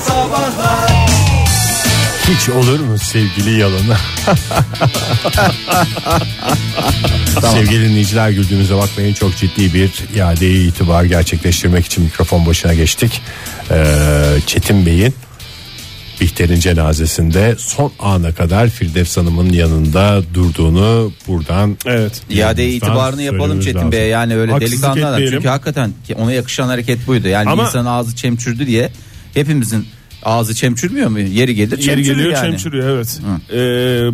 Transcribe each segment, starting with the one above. Sabahlar Hiç olur mu sevgili yalanı? Sevgili dinleyiciler güldüğümüze bakmayın çok ciddi bir iadeyi itibar gerçekleştirmek için mikrofon başına geçtik. Ee, Çetin Bey'in Bihter'in cenazesinde son ana kadar Firdevs Hanım'ın yanında durduğunu buradan Evet. İade Lütfen itibarını yapalım söylememiz Çetin lazım. Bey'e yani öyle Haksızlık delikanlı adam. etmeyelim. Çünkü hakikaten ki ona yakışan hareket buydu. Yani Ama- insanın ağzı çemçürdü diye hepimizin ağzı çemçürmüyor mu? Yeri gelir çemçürüyor Yeri geliyor yani. çemçürüyor evet. Ee,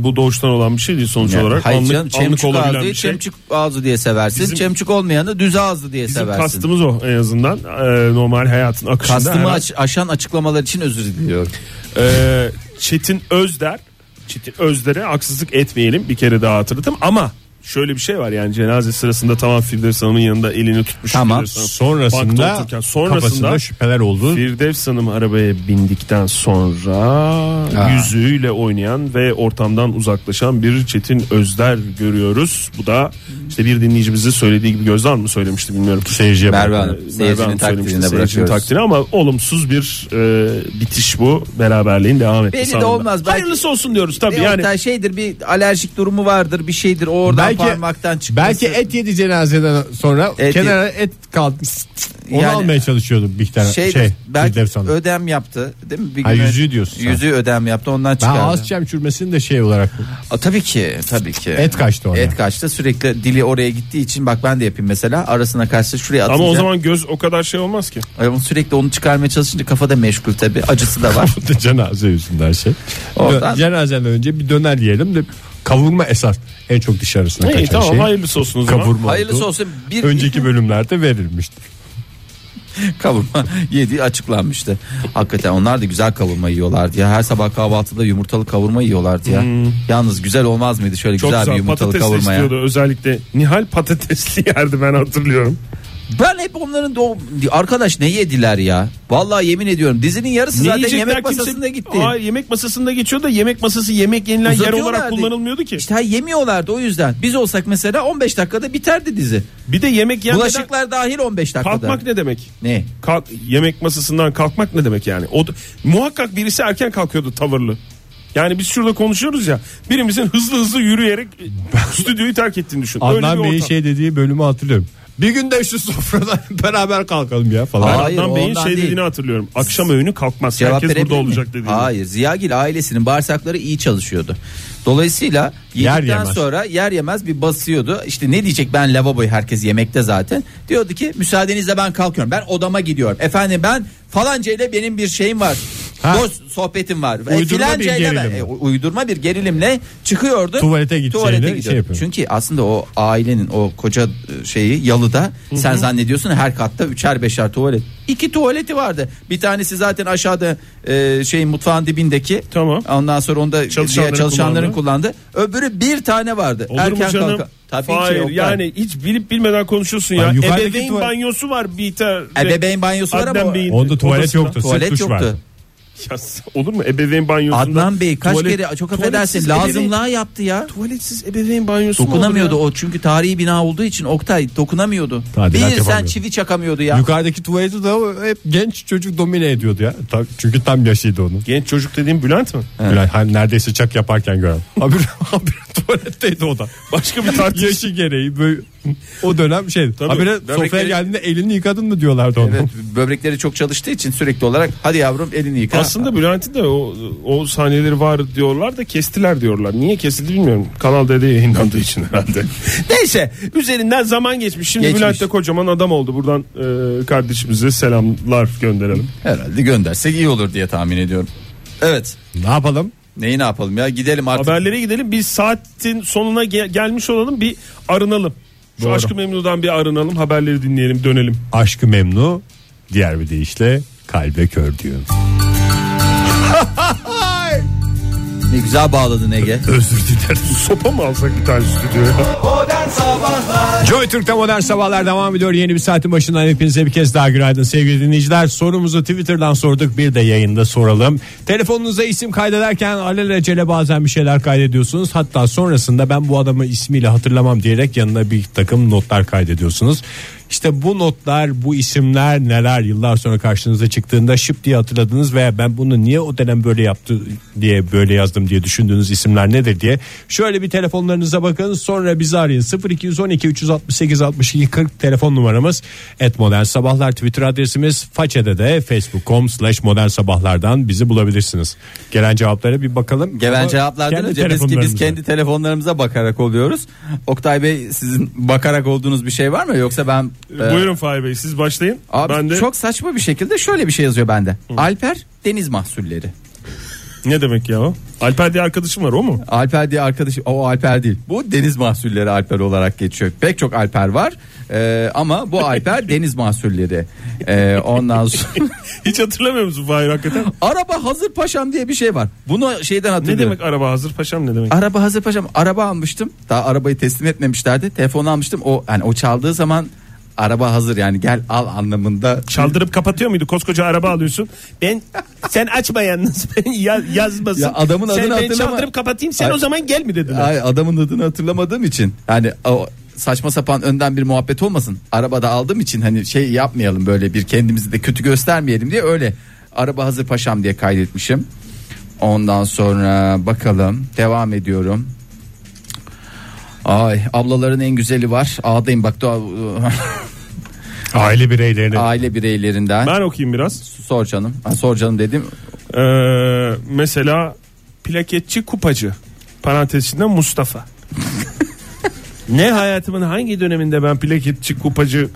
bu doğuştan olan bir şey değil sonuç Yani olarak. hayır anlık, canım, anlık çemçük olabilen ağzı, bir şey. çemçük ağzı diye seversin. Bizim- çemçük olmayanı düz ağzı diye Bizim seversin. kastımız o en azından. Ee, normal hayatın akışında. her Kastımı an- aş- aşan açıklamalar için özür diliyorum. Ee, Çetin Özder Çetin Özder'e haksızlık etmeyelim bir kere daha hatırladım ama şöyle bir şey var yani cenaze sırasında tamam Firdevs Hanım'ın yanında elini tutmuş Tamam. Firdevs Hanım. Bankta sonrasında, otururken, kafasında sonrasında şüpheler oldu. Firdevs Hanım arabaya bindikten sonra yüzüğüyle oynayan ve ortamdan uzaklaşan bir Çetin Özder görüyoruz. Bu da işte bir dinleyicimizin söylediği gibi Gözden mi söylemişti bilmiyorum. Seyirciye Merve bak. Hanım. Merve Seyircinin Hanım takdirine söylemişti, seyircinin bırakıyoruz. takdirine ama olumsuz bir e, bitiş bu. Beraberliğin devam etmesi Belli de anlamında. olmaz. Belki- Hayırlısı olsun diyoruz tabii yani. Yani, şeydir bir alerjik durumu vardır bir şeydir o oradan Belki- parmaktan çıkması. Belki et yedi cenazeden sonra Et kenara et kalkmış. Onu Yani- almaya çalışıyordum Bihter. şey, Şey, şey belki Firdevs Hanım. ödem yaptı değil mi? Bir Ha, gün- yüzüğü diyorsun sen. Yüzüğü ödem yaptı ondan Ben çıkardı. ağız çemçürmesini de şey olarak Aa, tabii ki tabii ki. Et kaçtı oraya. Et kaçtı sürekli dili oraya gittiği için bak ben de yapayım mesela arasına kaçtı şuraya atınca. Ama o zaman göz o kadar şey olmaz ki. Ama sürekli onu çıkarmaya çalışınca kafada meşgul tabii acısı da var. Bu da cenaze yüzünden şey. Oradan- Dö- Cenazeden önce bir döner yiyelim de kavurma esas en çok diş arasına İyi kaçan tamam şey. hayırlısı olsun o zaman. Kavurma Hayırlısı oldu. olsun bir Önceki bölümlerde verilmişti. kavurma yediği açıklanmıştı. Hakikaten onlar da güzel kavurma yiyorlardı ya. Her sabah kahvaltıda yumurtalı kavurma yiyorlardı ya. Yalnız güzel olmaz mıydı şöyle Hmm. Çok güzel, bir güzel yumurtalı patates kavurma ya. istiyordu özellikle. Nihal patatesli yerdi ben hatırlıyorum. Ben hep onların doğum arkadaş ne yediler ya? Vallahi yemin ediyorum dizinin yarısı zaten yiyecekler yemek kimse- masasında gitti. Aa, yemek masasında geçiyor da yemek masası yemek yenilen yer Uzatıyorlardı. olarak kullanılmıyordu ki. İşte hayır, yemiyorlardı o yüzden. Biz olsak mesela 15 dakikada biterdi dizi. Bir de yemek yenmeden Bulaşıklar dahil 15 dakikada. kalkmak ne demek? Ne? Kalk, yemek masasından kalkmak ne demek yani? O da- muhakkak birisi erken kalkıyordu tavırlı. Yani biz şurada konuşuyoruz ya. Birimizin hızlı hızlı yürüyerek e, stüdyoyu terk ettiğini düşün. Öyle bir Adnan Bey'in ortam. şey dediği bölümü hatırlıyorum. Bir gün de şu sofradan beraber kalkalım ya falan. Ben Hayır, o Adnan Bey'in ondan şey değil. dediğini hatırlıyorum. Akşam öğünü kalkmaz. Cevap Herkes burada verebilir olacak miyim? dediğini. Hayır Ziyagil ailesinin bağırsakları iyi çalışıyordu. Dolayısıyla Yer yedikten yemez. sonra yer yemez bir basıyordu. İşte ne diyecek ben lavaboyu herkes yemekte zaten. Diyordu ki müsaadenizle ben kalkıyorum. Ben odama gidiyorum. Efendim ben falanca ile benim bir şeyim var. Ha. Dost sohbetim var. E, Uydurma bir filanca ile ben- gerilim. e, uydurma bir gerilimle çıkıyordu. Tuvalete gideceğine şey gidiyordu. yapıyor. Çünkü aslında o ailenin o koca e, şeyi yalıda sen zannediyorsun her katta üçer beşer tuvalet. İki tuvaleti vardı. Bir tanesi zaten aşağıda e, şeyin mutfağın dibindeki. Tamam. Ondan sonra onu da Çalışanların çalışanların, çalışanların kullandı. Öbürü bir tane vardı. Olur mu canım? kalkan. Tabii Hayır, ki yok. yani hiç bilip bilmeden konuşuyorsun ya. Ben yukarıdaki Ebeveyn tuvalet- banyosu var Biter. Ebeveyn E, banyosu var ama Adnan Bey'in Onda tuvalet odasına- yoktu. Tuvalet tuvalet duş yoktu. Vardı. Ya, olur mu ebeveyn banyosunda? Adnan Bey kaç tuvalet- kere çok tuvaletsiz affedersin ebeveyn- lazımlığa yaptı ya. Tuvaletsiz ebeveyn banyosu mu olur Dokunamıyordu ya? o çünkü tarihi bina olduğu için Oktay dokunamıyordu. Tadilat bir sen yapamıyordu. çivi çakamıyordu ya. Yukarıdaki tuvaleti de o hep genç çocuk domine ediyordu ya. Ta- Çünkü tam yaşıydı onun. Genç çocuk dediğim Bülent mi? Bülent, hani neredeyse çak yaparken gören. Abi, abi tuvaletteydi o da. Başka bir tartış. Yaşı gereği böyle o dönem şey. Tabii. Habire Bebekleri- sofraya geldiğinde elini yıkadın mı diyorlardı ona. Evet, böbrekleri çok çalıştığı için sürekli olarak hadi yavrum elini yıka. Aslında Bülent'in de o, o sahneleri var diyorlar da kestiler diyorlar. Niye kesildi bilmiyorum. Kanal D'de yayınlandığı için herhalde. Neyse üzerinden zaman geçmiş. Şimdi Geçmiş. Bülent de kocaman adam oldu. Buradan e, kardeşimize selamlar gönderelim. herhalde göndersek iyi olur diye tahmin ediyorum. Evet. Ne yapalım? Neyi ne yapalım ya gidelim artık. Haberlere gidelim. Bir saatin sonuna ge- gelmiş olalım. Bir arınalım. Şu Doğru. Aşkı Memnu'dan bir arınalım. Haberleri dinleyelim dönelim. Aşkı memnu diğer bir deyişle kalbe kör diyor. Ne güzel bağladın Ege. Özür dilerim. Sopa mı alsak bir tane stüdyoya? Modern Sabahlar Joy Türk'te modern sabahlar devam ediyor. Yeni bir saatin başından hepinize bir kez daha günaydın sevgili dinleyiciler. Sorumuzu Twitter'dan sorduk bir de yayında soralım. Telefonunuza isim kaydederken alelacele bazen bir şeyler kaydediyorsunuz. Hatta sonrasında ben bu adamı ismiyle hatırlamam diyerek yanına bir takım notlar kaydediyorsunuz. İşte bu notlar, bu isimler neler yıllar sonra karşınıza çıktığında şıp diye hatırladınız veya ben bunu niye o dönem böyle yaptı diye böyle yazdım diye düşündüğünüz isimler nedir diye. Şöyle bir telefonlarınıza bakın sonra bizi arayın. 0212 368 62 40 telefon numaramız. Et Modern Sabahlar Twitter adresimiz. Façede de facebook.com slash modern sabahlardan bizi bulabilirsiniz. Gelen cevaplara bir bakalım. Gelen Ama cevaplardan kendi önce biz, ki biz telefonlarımıza. kendi telefonlarımıza bakarak oluyoruz. Oktay Bey sizin bakarak olduğunuz bir şey var mı yoksa ben e, Buyurun Fahir Bey siz başlayın. Abi ben de çok saçma bir şekilde şöyle bir şey yazıyor bende. Alper deniz mahsulleri. ne demek ya o? Alper diye arkadaşım var o mu? Alper diye arkadaş o Alper değil. Bu deniz mahsulleri Alper olarak geçiyor. Pek çok Alper var. Ee, ama bu Alper deniz mahsulleri. Ee, ondan sonra Hiç hatırlamıyor musun Fahir hakikaten? araba hazır paşam diye bir şey var. Bunu şeyden ne hatırlıyorum. demek araba hazır paşam ne demek? Araba hazır paşam. Araba almıştım. Daha arabayı teslim etmemişlerdi. Telefon almıştım. O yani o çaldığı zaman araba hazır yani gel al anlamında. Çaldırıp kapatıyor muydu? Koskoca araba alıyorsun. Ben sen açma yalnız. Ben ya- yazmasın. Ya adamın sen, adını ben hatırlama. çaldırıp kapatayım sen Ay- o zaman gel mi dediler. Ay, adamın adını hatırlamadığım için yani o saçma sapan önden bir muhabbet olmasın. Arabada aldığım için hani şey yapmayalım böyle bir kendimizi de kötü göstermeyelim diye öyle araba hazır paşam diye kaydetmişim. Ondan sonra bakalım devam ediyorum. Ay ablaların en güzeli var. Ağdayım bak doğa- Aile bireylerine. aile bireylerinden. Ben okuyayım biraz. Sor canım. Ha, sor canım dedim. Ee, mesela plaketçi kupacı. Parantez içinde Mustafa. ne hayatımın hangi döneminde ben plaketçi kupacı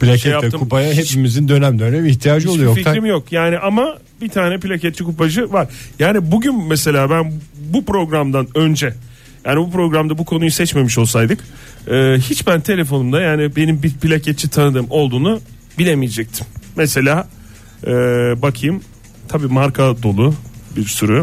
Plakette şey yaptım. kupaya Hiç- hepimizin dönem dönem ihtiyacı Hiçbir oluyor. Oktay. fikrim yok. Yani ama bir tane plaketçi kupacı var. Yani bugün mesela ben bu programdan önce yani bu programda bu konuyu seçmemiş olsaydık e, hiç ben telefonumda yani benim bir plaketçi tanıdığım olduğunu bilemeyecektim. Mesela e, bakayım tabii marka dolu bir sürü.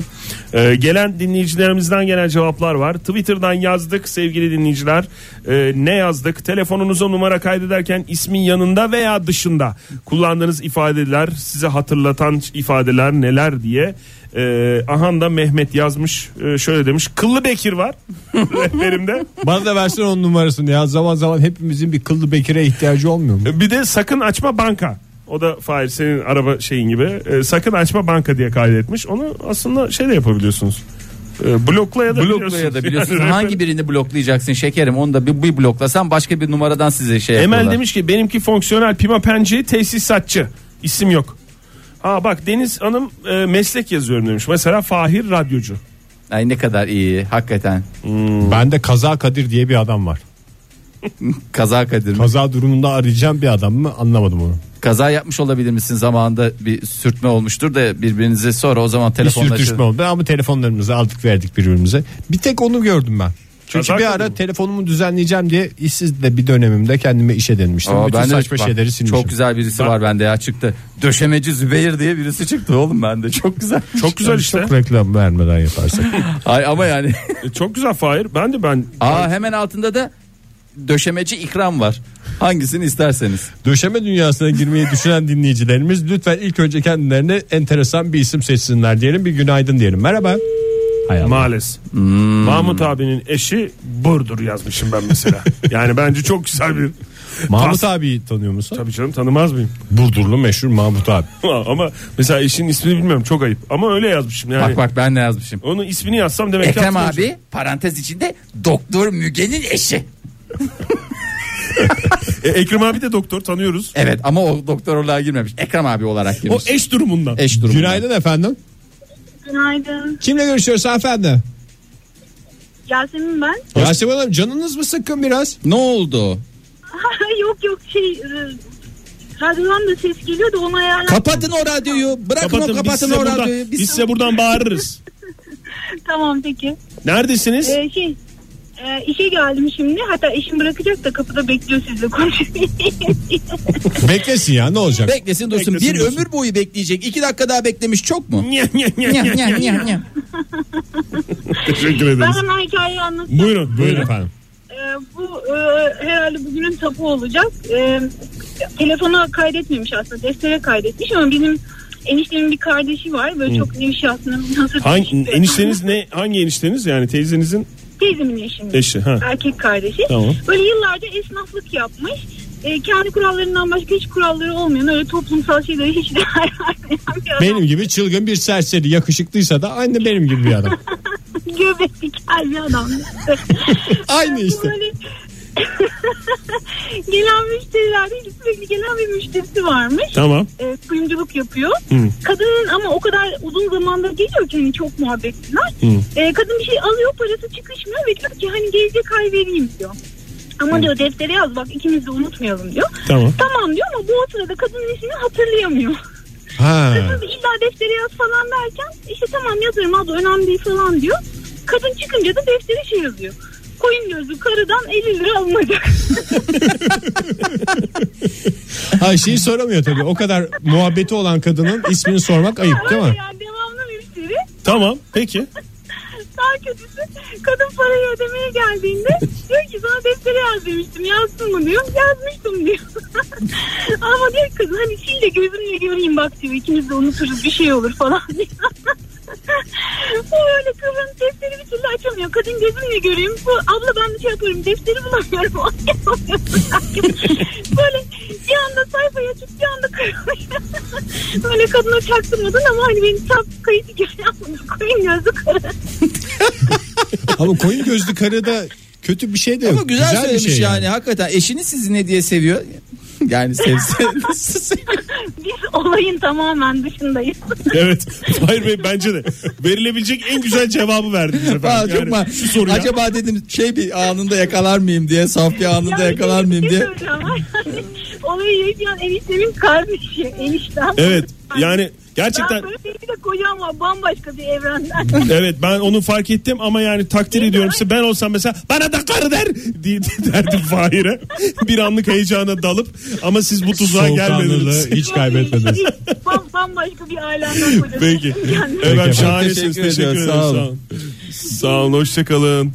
E, gelen dinleyicilerimizden gelen cevaplar var. Twitter'dan yazdık sevgili dinleyiciler. E, ne yazdık? Telefonunuza numara kaydederken ismin yanında veya dışında kullandığınız ifadeler, size hatırlatan ifadeler neler diye. E, Ahan da Mehmet yazmış. E, şöyle demiş. Kıllı Bekir var rehberimde. Bana da versin onun numarasını ya. Zaman zaman hepimizin bir kıllı bekire ihtiyacı olmuyor mu? E, Bir de sakın açma banka. O da Fahir senin araba şeyin gibi. E, sakın açma banka diye kaydetmiş. Onu aslında şey de yapabiliyorsunuz. E, blokla ya da Blokla ya da biliyorsun Yani hangi birini bloklayacaksın şekerim onu da bir, bir bloklasan başka bir numaradan size şey yapıyorlar. Emel demiş ki benimki fonksiyonel pima penci tesisatçı. İsim yok. Ha bak Deniz Hanım e, meslek yazıyorum demiş. Mesela Fahir radyocu. Ay ne kadar iyi hakikaten. Bende E, Kaza Kadir diye bir adam var. Kaza Kadir. mi? Kaza durumunda arayacağım bir adam mı anlamadım onu. Kaza yapmış olabilir misin zamanında bir sürtme olmuştur da birbirinize sonra o zaman Bir telefonla sürtüşme oldu ama telefonlarımızı aldık verdik birbirimize. Bir tek onu gördüm ben. Çünkü Kaza bir Kadir ara mi? telefonumu düzenleyeceğim diye işsiz de bir dönemimde kendime iş edinmiştim. Aa, Bütün bende de- saçma bak, şeyleri silmişim. Çok güzel birisi var bende ya çıktı. Döşemeci Zübeyir diye birisi çıktı oğlum bende. Çok güzel. Çok güzel işte. Çok reklam vermeden yaparsak. Ay ama yani. E, çok güzel Fahir. Ben de ben Aa hemen altında da döşemeci ikram var. Hangisini isterseniz. Döşeme dünyasına girmeyi düşünen dinleyicilerimiz lütfen ilk önce kendilerine enteresan bir isim seçsinler diyelim. Bir günaydın diyelim. Merhaba. Hay Allah. maalesef. Mahmut abinin eşi Burdur yazmışım ben mesela. yani bence çok güzel bir Mahmut Pas- abi tanıyor musun? Tabii canım tanımaz mıyım? Burdurlu meşhur Mahmut abi. Ama mesela eşinin ismini bilmiyorum çok ayıp. Ama öyle yazmışım yani. Bak bak ben ne yazmışım. Onun ismini yazsam demek ki Ekrem hatırlayacağım. abi parantez içinde Doktor Müge'nin eşi. E, Ekrem abi de doktor tanıyoruz. Evet ama o doktorluğa girmemiş. Ekrem abi olarak O girmiş. eş durumundan. eş durumu. e- Günaydın efendim. Günaydın. Kimle görüşüyoruz efendim? Yasemin ben. Yasemin Hanım canınız mı sıkkın biraz? Ne oldu? yok yok şey e, radyodan da ses geliyor da ona ayarlan. Kapatın o radyoyu. Bırakın Kapatın, o biz kapatın size o buradan, radyoyu. biz size buradan bağırırız. tamam peki. Neredesiniz? E, şey e, işe geldim şimdi. Hatta işim bırakacak da kapıda bekliyor sizle konuşmayı. Beklesin ya ne olacak? Beklesin dursun. Beklesin bir dursun. ömür boyu bekleyecek. İki dakika daha beklemiş çok mu? Nya, nya, nya, nya, nya, nya. Teşekkür ben ederiz. hemen hikayeyi anlatayım. Buyurun, Buyurun buyurun. efendim. E, bu e, herhalde bugünün tapu olacak. E, telefona kaydetmemiş aslında. Deftere kaydetmiş ama bizim eniştemin bir kardeşi var. Böyle çok nevi aslında. Nasıl şey. Hangi işte. enişteniz ne? Hangi enişteniz? Yani teyzenizin E, Teyzemin eşinin. eşi. Ha. erkek kardeşi. Tamam. Böyle yıllarca esnaflık yapmış. e, kendi kurallarından başka hiç kuralları olmayan öyle toplumsal şeylere hiç değer vermeyen bir adam. Benim gibi çılgın bir serseri yakışıklıysa da aynı benim gibi bir adam. Göbek diker bir adam. Aynı işte. Böyle gelen müşteriler değil sürekli gelen bir müşterisi varmış. Tamam. e, kuyumculuk yapıyor. Kadının ama o kadar uzun zamanda geliyor ki hani çok muhabbetler. E, kadın bir şey alıyor parası çıkışmıyor ve diyor ki hani gelecek ay vereyim diyor. Ama diyor deftere yaz bak ikimiz de unutmayalım diyor. Tamam. Tamam diyor ama bu o sırada kadının ismini hatırlayamıyor. Ha. Kız E illa deftere yaz falan derken işte tamam yazarım abla önemli değil falan diyor. Kadın çıkınca da deftere şey yazıyor. Koyun gözü karıdan 50 lira alınacak. Ha şeyi soramıyor tabii. O kadar muhabbeti olan kadının ismini sormak ayıp değil mi? Öyle yani devamlı müşteri. Tamam. Peki. Daha kötüsü kadın parayı ödemeye geldiğinde diyor ki sana deftere yaz demiştim yazsın mı diyor yazmıştım diyor. Ama diyor ki, kız hani sil de gözümle göreyim bak diyor ikimiz de unuturuz bir şey olur falan diyor. o öyle kızın defteri bir türlü açamıyor. Kadın gözümle göreyim. Bu abla ben bir şey yaparım. Defteri bulamıyorum. Ay, yapamıyorum. Böyle bir anda sayfayı açıp bir anda kırmış. Böyle kadına çaktırmadın ama hani benim tam kayıt hikaye yapmış. Koyun gözü kara. Ama koyun gözlü karıda kötü bir şey de yok. Ama güzel, bir söylemiş şey yani. hakikaten. Eşiniz sizi ne diye seviyor? Yani sevse nasıl seviyor? Biz olayın tamamen dışındayız. Evet. Hayır Bey bence de. Verilebilecek en güzel cevabı verdiniz efendim. Aa, çok Yani ma- şu soruya. Acaba dedim şey bir anında yakalar mıyım diye, saf bir anında Yani yakalar mıyım bir şey diye. söyleyeceğim. Yani Olayı yaşayan eniştemin kardeşi. Eniştem. Evet. Yani Ben gerçekten böyle bir de kocam var bambaşka bir evrenden. evet ben onu fark ettim ama yani takdir ediyorum size ben olsam mesela bana da karı der diye derdim Fahir'e. Bir anlık heyecana dalıp ama siz bu tuzağa gelmediniz. Soğukkanlılığı hiç kaybetmediniz. Bam- bambaşka bir ailemden kocası. Peki. Yani Evet efendim. şahanesiniz. Teşekkür Teşekkür ediyoruz. Sağ ederim. Sağ olun. olun. Sağ olun. Hoşçakalın.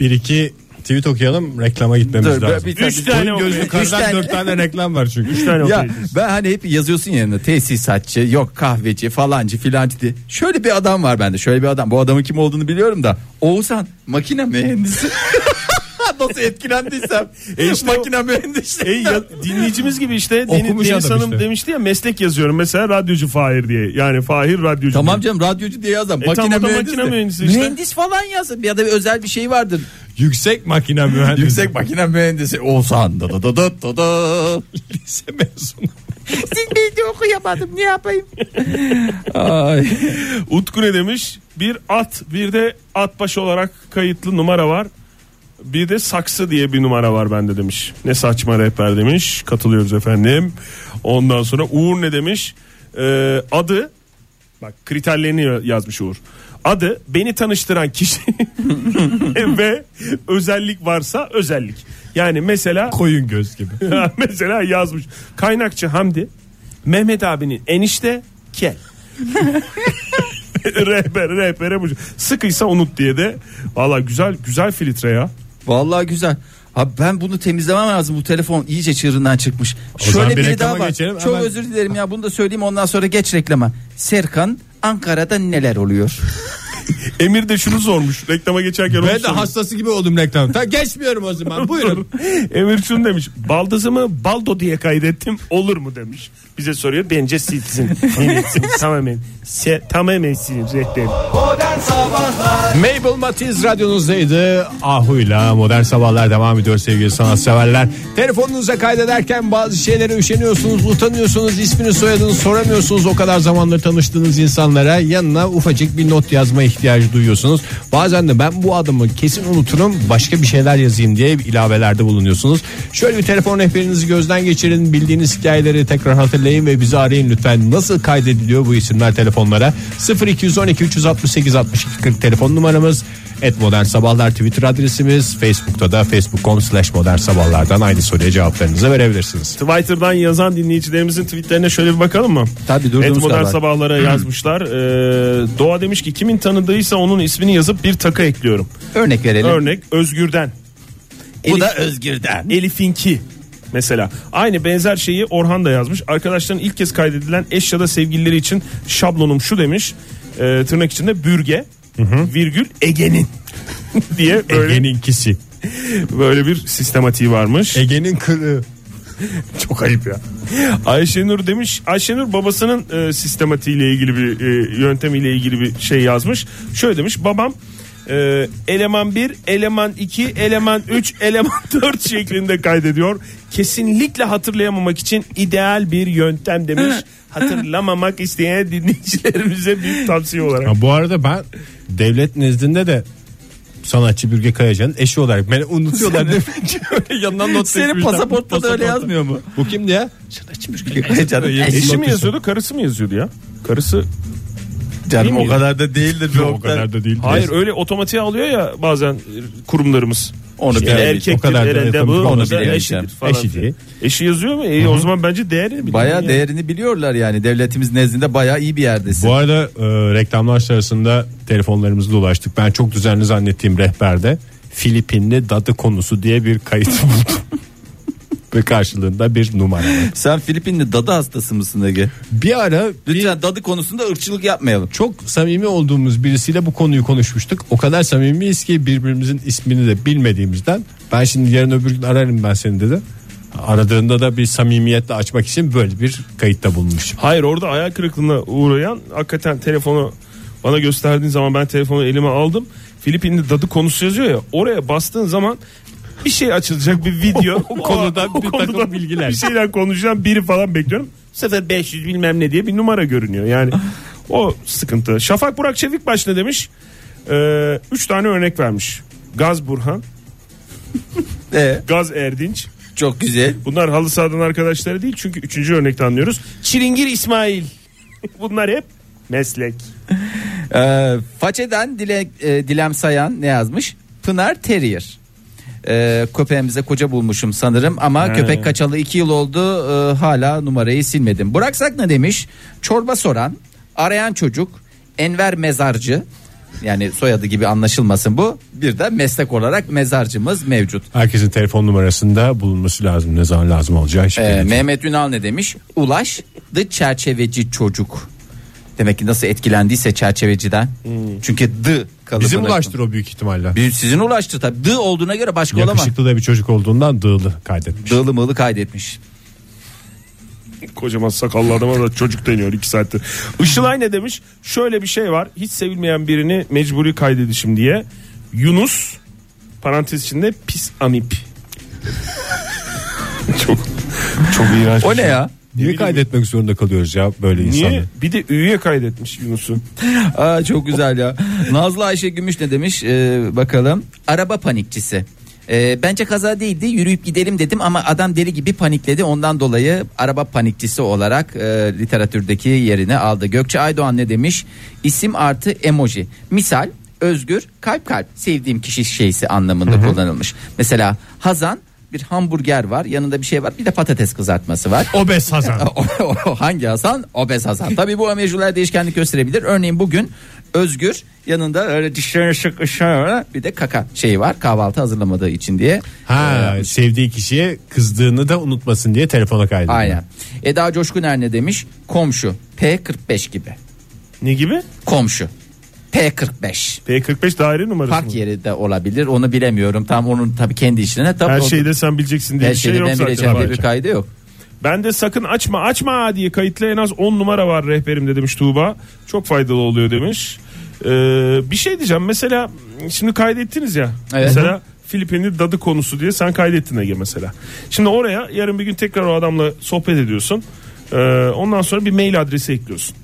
Bir iki tweet okuyalım reklama gitmemiz Dur, lazım. bir tane- Üç tane Koyun okuyayım. gözlü karıdan Karıdan dört dört tane reklam var çünkü. Ya ben hani hep yazıyorsun yanına tesisatçı yok kahveci falancı filancı diye. Şöyle bir adam var bende şöyle bir adam bu adamın kim olduğunu biliyorum da Oğuzhan makine mühendisi. Nasıl etkilendiysem E işte o- makine mühendisi. E, ya, dinleyicimiz gibi işte Okumuş Deniz, Deniz adam Hanım işte. demişti ya meslek yazıyorum mesela radyocu Fahir diye. Yani Fahir radyocu. Tamam diye. canım radyocu diye yazan tam o makine E da mühendisi. makine mühendisi işte. Mühendis falan yazın ya da bir özel bir şey vardır. Yüksek makine mühendisi. Yüksek makine mühendisi Oğuzhan. Da da da da da da. lise mezunu. Siz beni okuyamadım ne yapayım? Ay. Utku ne demiş? Bir at bir de at başı olarak kayıtlı numara var. Bir de saksı diye bir numara var bende demiş. Ne saçma rehber demiş. Katılıyoruz efendim. Ondan sonra Uğur ne demiş? Ee, adı bak kriterlerini ya- yazmış Uğur. Adı beni tanıştıran kişi ve özellik varsa özellik. Yani mesela Koyun göz gibi. mesela yazmış. Kaynakçı Hamdi Mehmet abinin enişte kel. rehber rehbere bu. Sıkıysa unut diye de. Valla güzel güzel filtre ya. Vallahi güzel. Abi ben bunu temizlemem lazım. Bu telefon iyice çığırından çıkmış. zaman Şöyle bir biri reklama daha var. geçelim. Çok Hemen- özür dilerim ya. Bunu da söyleyeyim ondan sonra geç reklama. Serkan Ankara'da neler oluyor? Emir de şunu sormuş. Reklama geçerken onu Ben de sormuş. hastası gibi oldum reklamda. Geçmiyorum o zaman. Buyurun. Emir şunu demiş. Baldızımı baldo diye kaydettim. Olur mu demiş. Bize soruyor. Bence silsin. Silsin. tamamen. Se, tamamen silsin. Rehberim. Mabel Matiz radyonuzdaydı. Ahu'yla Modern Sabahlar devam ediyor sevgili sanatseverler. Telefonunuza kaydederken bazı şeylere üşeniyorsunuz, utanıyorsunuz, ismini soyadını soramıyorsunuz. O kadar zamandır tanıştığınız insanlara yanına ufacık bir not yazma ihtiyacı duyuyorsunuz. Bazen de ben bu adımı kesin unuturum başka bir şeyler yazayım diye ilavelerde bulunuyorsunuz. Şöyle bir telefon rehberinizi gözden geçirin. Bildiğiniz hikayeleri tekrar hatırlayın ve bizi arayın lütfen. Nasıl kaydediliyor bu isimler telefonlara? 0212 368 62 40 telefon numaramız. Et Modern Sabahlar Twitter adresimiz. Facebook'ta da facebook.com slash modern sabahlardan aynı soruya cevaplarınızı verebilirsiniz. Twitter'dan yazan dinleyicilerimizin tweetlerine şöyle bir bakalım mı? Tabii, durduğumuz Et modern kadar. sabahlara yazmışlar. Ee, Doğa demiş ki kimin tanıdığıysa onun ismini yazıp bir taka ekliyorum. Örnek verelim. Örnek Özgür'den. Bu da Özgür'den. Elif'inki mesela. Aynı benzer şeyi Orhan da yazmış. Arkadaşların ilk kez kaydedilen eş ya da sevgilileri için şablonum şu demiş. Ee, tırnak içinde bürge virgül Ege'nin diye böyle, Ege'ninkisi. böyle bir sistematiği varmış. Ege'nin kırığı. Çok ayıp ya. Ayşenur demiş. Ayşenur babasının e, sistematiğiyle ilgili bir e, yöntemiyle ilgili bir şey yazmış. Şöyle demiş. Babam e, eleman 1, eleman 2, eleman 3, eleman 4 şeklinde kaydediyor. Kesinlikle hatırlayamamak için ideal bir yöntem demiş. Hatırlamamak isteyen dinleyicilerimize bir tavsiye olarak. Ha, bu arada ben devlet nezdinde de sanatçı Bürge Kayacan'ın eşi olarak beni unutuyorlar demek yanından not Senin çekmişler. pasaportta da öyle yazmıyor mu? Bu kimdi ya? Canım, Eşi mi Bakıyorsun. yazıyordu, karısı mı yazıyordu ya? Karısı canım o miydi? kadar da değildir. bir o kadar da değil. Hayır öyle otomatiğe alıyor ya bazen e, kurumlarımız. Onu Şey, İşte bilemeyeceğim. erkektir, O kadar da herhalde bu, otomatik onu o da bilemeyeceğim. eşidir falan. Eşi değil. Eşi yazıyor mu? İyi o zaman bence değerini bilir. Bayağı Yani. değerini biliyorlar yani. Devletimiz nezdinde bayağı iyi bir yerdesin. Bu arada e, reklamlar sırasında telefonlarımızla ulaştık. Ben çok düzenli zannettiğim rehberde Filipinli dadı konusu diye bir kayıt buldum. Ve karşılığında bir numara. var. Sen Filipinli dadı hastası mısın Ege? Bir ara Lütfen dadı konusunda ırkçılık yapmayalım. çok samimi olduğumuz birisiyle bu konuyu konuşmuştuk. O kadar samimiyiz ki birbirimizin ismini de bilmediğimizden. Ben şimdi yarın öbür gün ararım ben seni dedi. Aradığında da bir samimiyetle açmak için böyle bir kayıtta bulunmuşum. Hayır orada hayal kırıklığına uğrayan hakikaten telefonu bana gösterdiğin zaman ben telefonu elime aldım. Filipinli dadı konusu yazıyor ya oraya bastığın zaman bir şey açılacak bir video. o konudan bir takım bilgiler. Bir şeyden konuşacağım biri falan bekliyorum. Bu sefer 500 bilmem ne diye bir numara görünüyor yani. o sıkıntı. Şafak Burak Çevik başla demiş. Ee, üç tane örnek vermiş. Gaz Burhan, Ee? E, Gaz Erdinç, çok güzel. Bunlar halı sahadan arkadaşları değil çünkü üçüncü örnekte anlıyoruz. Çilingir İsmail. Bunlar hep meslek. Ee, façeden dile, e, Dilem Sayan ne yazmış? Pınar Terrier. Ee, köpeğimize koca bulmuşum sanırım ama köpek kaçalı 2 yıl oldu Ee, hala numarayı silmedim. Burak Sakna demiş çorba soran arayan çocuk Enver Mezarcı yani soyadı gibi anlaşılmasın bu bir de meslek olarak mezarcımız mevcut. Herkesin telefon numarasında bulunması lazım. Ne zaman lazım olacağı. Şimdi Ee, Mehmet Ünal ne demiş? Ulaş the çerçeveci çocuk. Demek ki nasıl etkilendiyse çerçeveciden. Çünkü the kalıbını. Bizim ulaştır o büyük ihtimalle. Bir- Sizin ulaştı tabii. Dı olduğuna göre başka olamaz. Yakışıklı da bir çocuk olduğundan dığılı kaydetmiş. Dılı mılı kaydetmiş. Kocaman sakallı adama da çocuk deniyor iki saattir. Işılay ne demiş? Şöyle bir şey var. Hiç sevilmeyen birini mecburi kaydedişim diye. Yunus parantez içinde pis amip. çok çok iğrenç. şey. O ne ya? Niye kaydetmek zorunda kalıyoruz ya böyle Niye? insanları? Bir de üye kaydetmiş Yunus'u. Aa, çok güzel ya. Nazlı Ayşe Gümüş ne demiş? Ee, bakalım. Araba panikçisi. Ee, bence kaza değildi yürüyüp gidelim dedim ama adam deli gibi panikledi ondan dolayı araba panikçisi olarak e, literatürdeki yerini aldı. Gökçe Aydoğan ne demiş isim artı emoji misal özgür kalp kalp sevdiğim kişi şeysi anlamında kullanılmış. Mesela Hazan bir hamburger var yanında bir şey var bir de patates kızartması var. Obez Hazan. O- Hangi Hasan? Obez Hasan. Tabii bu amejurlar değişkenlik gösterebilir. Örneğin bugün Özgür yanında öyle dişleri şık ışığı bir de kaka şeyi var kahvaltı hazırlamadığı için diye. Ha, sevdiği kişiye kızdığını da unutmasın diye telefona kaydediyor. Aynen. Eda Coşkuner ne demiş? Komşu P45 gibi. Ne gibi? Komşu P45. P45 daire numarası mı? Park yeri de olabilir onu bilemiyorum. Tam onun tabii kendi işine. Tabii Her o- şeyi de sen bileceksin diye her bir şey şeyde yok ben zaten. bileceğim diye Bence. bir kaydı yok. Ben de sakın açma açma diye kayıtlı en az 10 numara var rehberimde demiş Tuğba. Çok faydalı oluyor demiş. Ee, bir şey diyeceğim mesela şimdi kaydettiniz ya. Evet. Mesela Filipinli dadı konusu diye sen kaydettin Ege mesela. Şimdi oraya yarın bir gün tekrar o adamla sohbet ediyorsun. Ee, ondan sonra bir mail adresi ekliyorsun.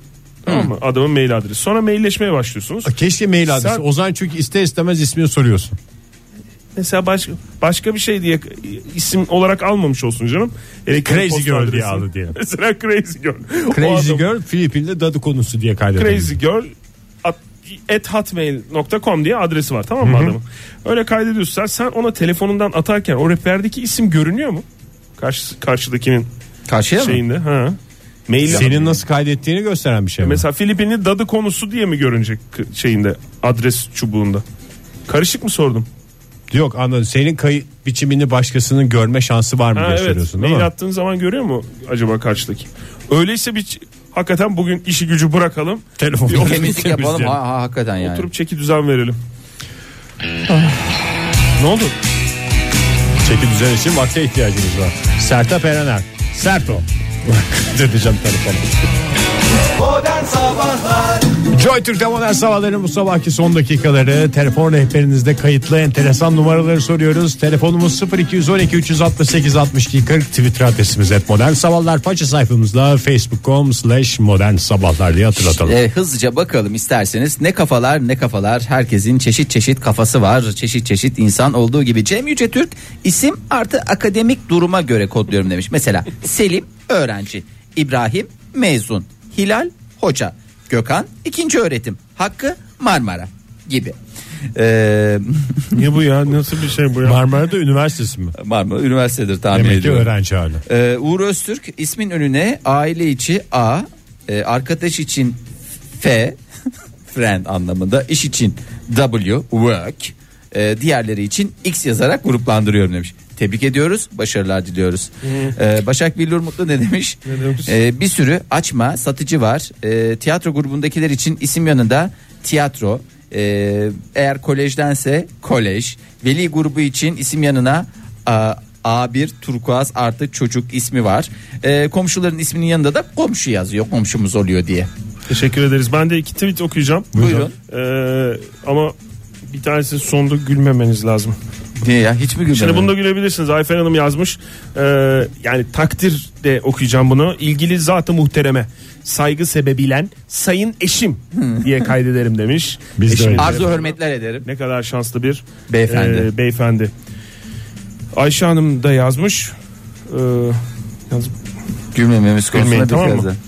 Tamam mı? Adamın mail adresi. Sonra mailleşmeye başlıyorsunuz. Keşke mail adresi. Sen- Ozan çünkü ister istemez ismini soruyorsun. Mesela başka başka bir şey diye isim olarak almamış olsun canım. Elektrik Crazy posta Girl diye adresini. aldı diyelim. Mesela Crazy Girl. O Crazy adam- Girl Filipin'de dadı konusu diye kaydediyor. Crazy Girl at, at hotmail.com diye adresi var tamam mı adamın? Öyle kaydediyorsan sen ona telefonundan atarken o rehberdeki isim görünüyor mu? Karşı, karşıdakinin Karşıya mı? şeyinde. Ha. Mail Senin nasıl kaydettiğini gösteren bir şey mi? Mesela Filipinli dadı konusu diye mi görünecek k- şeyinde adres çubuğunda? Karışık mı sordum? Yok anladım. Senin kayıt biçimini başkasının görme şansı var mı Ha, evet. gösteriyorsun değil Mail mi? attığın zaman görüyor mu acaba karşıdaki? Öyleyse bir ç- hakikaten bugün işi gücü bırakalım. Telefon. Bir ofis Temizlik yapalım temizleyelim. ha, ha, hakikaten yani. Oturup çeki düzen verelim. ne oldu? Ah. Çeki düzen için vakte ihtiyacımız var. Sertap Erener. Serto. Döneceğim telefonu. Modern Sabahlar Joy Türk'te modern sabahların bu sabahki son dakikaları telefon rehberinizde kayıtlı enteresan numaraları soruyoruz. Telefonumuz 0212 368 62 40 Twitter adresimiz et modern sabahlar faça sayfamızda facebook.com slash modern sabahlar diye hatırlatalım. E, hızlıca bakalım isterseniz ne kafalar ne kafalar herkesin çeşit çeşit kafası var çeşit çeşit insan olduğu gibi Cem Yüce Türk isim artı akademik duruma göre kodluyorum demiş mesela Selim öğrenci İbrahim mezun Hilal hoca Gökhan ikinci öğretim Hakkı Marmara gibi E, Niye bu ya? Nasıl bir şey bu ya? Marmara'da üniversitesi mi? Marmara üniversitedir tahmin Demek ki ediyorum öğrenci hali. Ee, Uğur Öztürk ismin önüne aile içi A, e, arkadaş için F, friend anlamında, iş için W, work, e, diğerleri için X yazarak gruplandırıyorum demiş. Tebrik ediyoruz, başarılar diliyoruz. Ee, Başak Billur Mutlu ne demiş? demiş? Ee, bir sürü açma, satıcı var. Ee, tiyatro grubundakiler için isim yanında tiyatro, ee, eğer kolejdense kolej. Veli grubu için isim yanına a, A1 turkuaz artı çocuk ismi var. Ee, komşuların isminin yanında da komşu yazıyor. Komşumuz oluyor diye. Teşekkür ederiz. Ben de iki tweet okuyacağım. Buyurun. Ee, ama bir tanesi sonunda gülmemeniz lazım. Niye ya? Hiç mi gülmedin? Şimdi bunda gülebilirsiniz. Ayfer Hanım yazmış. Ee, yani takdir de okuyacağım bunu. İlgili zatı muhtereme saygı sebebiyle sayın eşim diye kaydederim demiş. Hmm. Biz de Eşim- öyle. Arzu hürmetler ederim. Ne kadar şanslı bir Beyefendi. e, beyefendi. Ayşe Hanım da yazmış. Ee, yaz- Gülmememiz konusunda Gülmeyin, tamam mı? dikkat edin.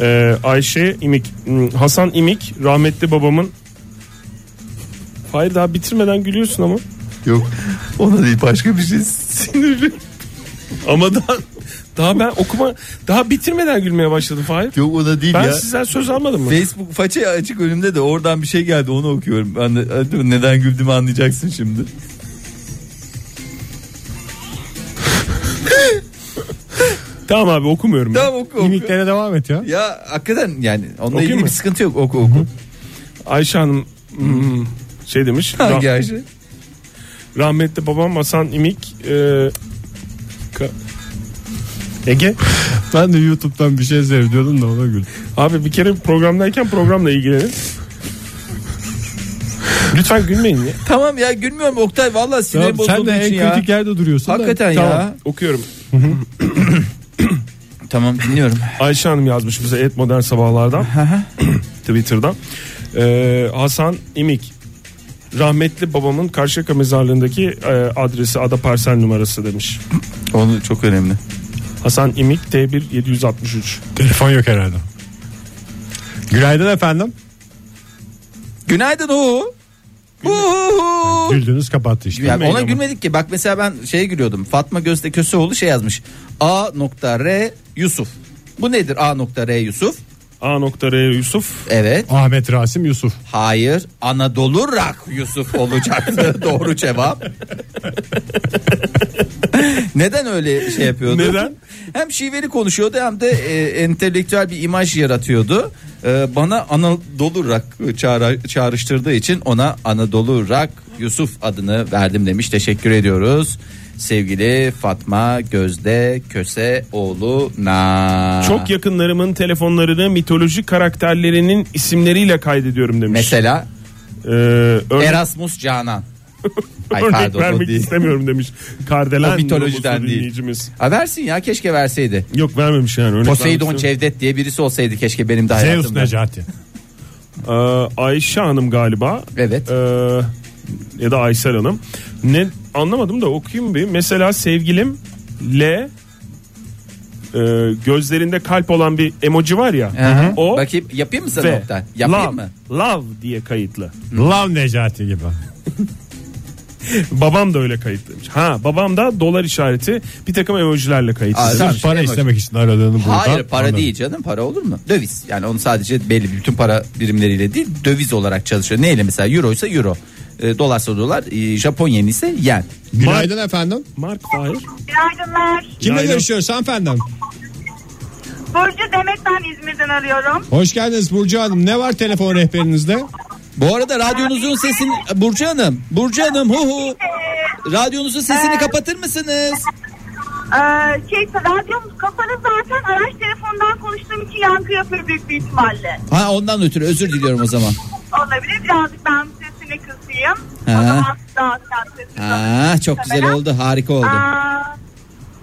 Ee, Ayşe İmik hmm, Hasan İmik rahmetli babamın Hayır daha bitirmeden gülüyorsun ama Yok. Ona değil başka bir şey. Sinirli. Ama daha, daha ben okuma daha bitirmeden gülmeye başladım Fahir Yok ona değil Ben ya. sizden söz almadım mı? Facebook faça açık önümde de oradan bir şey geldi onu okuyorum. Ben de- Hadi neden güldüğümü anlayacaksın şimdi. Tamam abi okumuyorum. ya. Tamam oku oku. Mimiklere devam et ya. Ya hakikaten yani onunla Okuyayım ilgili mı? bir sıkıntı yok oku oku. Ayşe Hanım hmm, şey demiş. Hangi rah- Ayşe? rahmetli babam Hasan İmik e, ka- Ege Ben de YouTube'dan bir şey seyrediyordum da ona güldüm. abi bir kere programdayken programla ilgilenin. Lütfen gülmeyin ya. Tamam ya gülmüyorum Oktay valla sinirim Tamam, sen bozulduğu de en için ya. kritik yerde duruyorsun. da. Hakikaten Tamam. ya. Okuyorum. Tamam dinliyorum. Ayşe Hanım yazmış bize et modern sabahlardan Twitter'dan Ee, Hasan İmik rahmetli babamın Karşıyaka mezarlığındaki e, adresi ada parsel numarası demiş Onu çok önemli. Hasan İmik T1 763 Telefon yok herhalde. Günaydın efendim. Günaydın Uğur. Uğur. Güldünüz kapattı işte. Ya ona ama. gülmedik ki. Bak mesela ben şeye gülüyordum. Fatma Gözde Köseoğlu şey yazmış. A nokta R Yusuf. Bu nedir A nokta R Yusuf? A nokta R Yusuf Evet. Ahmet Rasim Yusuf. Hayır. Anadolu Rak Yusuf olacaktı. Doğru cevap. Neden öyle şey yapıyordu? Neden? Hem şiveli konuşuyordu hem de e, entelektüel bir imaj yaratıyordu. E, bana Anadolu Rak çağrı- çağrıştırdığı için ona Anadolu Rak Yusuf adını verdim demiş. Teşekkür ediyoruz. Sevgili Fatma Gözde Köseoğlu Na. çok yakınlarımın telefonlarını mitolojik karakterlerinin isimleriyle kaydediyorum demiş Mesela Ee, örnek, Erasmus Canan. Ay örnek pardon o vermek değil. istemiyorum demiş Kardelen O mitolojiden Robosu değil. dinleyicimiz. Ha versin ya keşke verseydi. Yok vermemiş yani. örnek Poseidon vermiş. Cevdet diye birisi olsaydı keşke benim de Zeus hayatımda. Necati. Ee, Ayşe Hanım galiba. Evet. Ee, ya da Aysel Hanım. Ne anlamadım da okuyayım bir. Mesela sevgilim L e, gözlerinde kalp olan bir emoji var ya. Aha. O Bakayım yapayım mı sana ve nokta? love, Yapayım mı? love diye kayıtlı. Love Necati gibi. babam da öyle kayıtlıymış. Ha babam da dolar işareti bir takım emojilerle kayıtlı. Aa, Sırf tamam, para şey istemek için aradığını buradan. Hayır para anladım. değil canım para olur mu? Döviz yani onu sadece belli bütün para birimleriyle değil döviz olarak çalışıyor. Neyle mesela euro ise euro. E, dolarsa dolar e, Japon yeni ise yen. Günaydın efendim. Mark Fahir. Günaydınlar. Kimle Günaydın. görüşüyoruz hanımefendim? Burcu Demet ben İzmir'den arıyorum. Hoş geldiniz Burcu Hanım. Ne var telefon rehberinizde? Bu arada radyonuzun sesini Burcu Hanım Burcu Hanım hu hu radyonuzun sesini kapatır mısınız? Ee, şey radyom kapalı zaten araç telefondan konuştuğum için yankı yapıyor büyük bir ihtimalle. Ha ondan ötürü özür diliyorum o zaman. Olabilir birazcık ben sesini kısayım. Hı. O zaman daha sen sesini Ha çok güzel oldu harika oldu. Aa,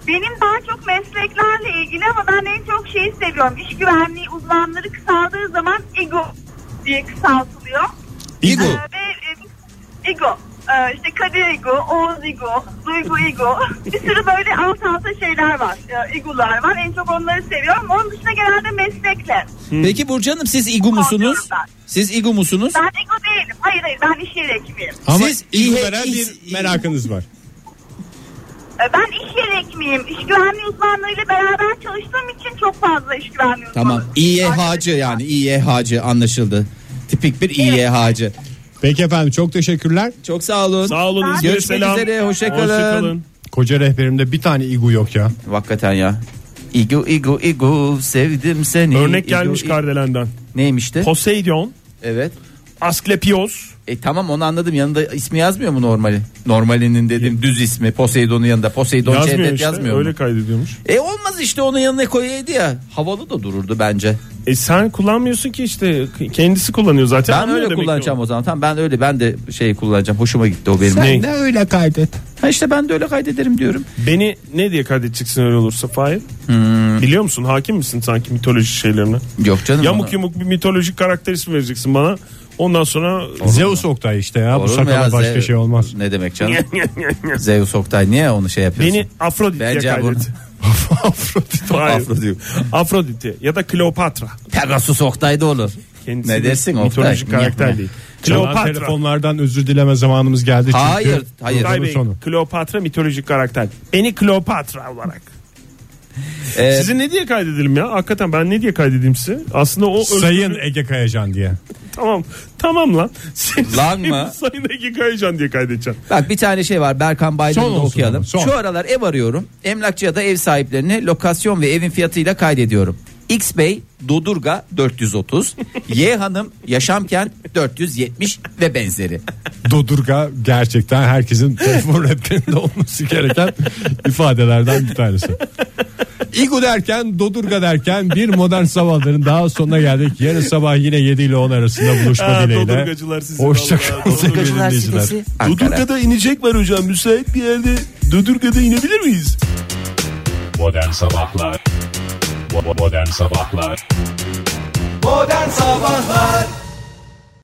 benim daha çok mesleklerle ilgili ama ben en çok şeyi seviyorum. İş güvenliği uzmanları kısaldığı zaman ego diye kısaltılıyor. İgu. Ee, ve e, ego. Ee, işte Kadir Ego, Oğuz Ego, Duygu Ego. Bir sürü böyle alt alta şeyler var. Ee, Egolar var. En çok onları seviyorum. Onun dışında genelde meslekle. Peki Burcu Hanım siz İgu musunuz? Siz İgu musunuz? Ben Ego değilim. Hayır hayır ben iş yeri hekimiyim. Ama Siz iyi İhe- veren bir İh- merakınız var. Ee, Ben iş yeri hekimiyim. İş güvenliği uzmanlarıyla beraber çalıştığım için çok fazla iş güvenliği uzmanı. Tamam. İYH'cı yani İYH'cı anlaşıldı. Tipik bir İYH'cı. Peki efendim çok teşekkürler. Çok sağ olun. Sağ olun. İzmir'e Görüşmek selam. üzere, hoşça Hoşça kalın. Koca rehberimde bir tane igu yok ya. Hakikaten ya. İgu igu igu sevdim seni. Örnek İgu, gelmiş igu- Kardelen'den. Neymişti? Poseidon, Evet. Asklepios, E tamam onu anladım. Yanında ismi yazmıyor mu normali? Normalinin dedim düz ismi Poseidon'un yanında. Poseidon yazmıyor Cevdet işte. yazmıyor Öyle mu? kaydediyormuş. E olmaz işte onun yanına koyaydı ya. Havalı da dururdu bence. E sen kullanmıyorsun ki işte kendisi kullanıyor zaten. Ben Anlıyor öyle demek ki kullanacağım o. o zaman. Tamam ben öyle ben de şey kullanacağım. Hoşuma gitti o benim. Ne? Ne öyle kaydet. Ha işte ben de öyle kaydederim diyorum. Beni ne diye kaydedeceksin öyle olursa Fahir? Hmm. Biliyor musun? Hakim misin sanki mitoloji şeylerine? Yok canım. ona- Yamuk yumuk bir mitolojik karakter ismi vereceksin bana. Ondan sonra Zeus Oktay işte ya. Olur Bu mu ya? sakala başka Ze- şey olmaz. Ne demek canım? Zeus Oktay niye onu şey yapıyorsun? beni Afrodit diye Bence kaydet. bunu- Afrodit. Hayır. Afrodit. Afrodit'i ya da Kleopatra. Pegasus Oktay da olur. Kendisi ne de dersin Oktay? Mitolojik karakter değil. Çalan Kleopatra. telefonlardan özür dileme zamanımız geldi. Çünkü Hayır, hayır. Oktay Bey, Sonu. Kleopatra mitolojik karakter. Beni Kleopatra olarak. Ee, Sizi ne diye kaydedelim ya? Hakikaten ben ne diye kaydedeyim sizi? Aslında o özgürlüğü- Sayın Ege Kayacan diye. Tamam. Tamam lan. Seni Lan mı? Sayın Ege Kayacan diye kaydedeceğim. Bak bir tane şey var Berkan Son Baydan'ı da olsun okuyalım. ama, son. Şu aralar ev arıyorum. Emlakçı ya da ev sahiplerini lokasyon ve evin fiyatıyla kaydediyorum. X Bey Dodurga 430, Y Hanım Yaşamkent 470 ve benzeri. Dodurga gerçekten herkesin telefon rehberinde olması gereken ifadelerden bir tanesi. İgu derken Dodurga derken bir modern sabahların daha sonuna geldik. Yarın sabah yine 7 ile 10 arasında buluşma Aa, dileğiyle. Dodurgacılar sizi vallahi. Hoşçakalın sevgili Dodurgacılar dinleyiciler. sitesi Ankara. inecekler hocam. Müsait bir yerde Dudurga'da inebilir miyiz? Modern Sabahlar Bo- Modern Sabahlar Modern Sabahlar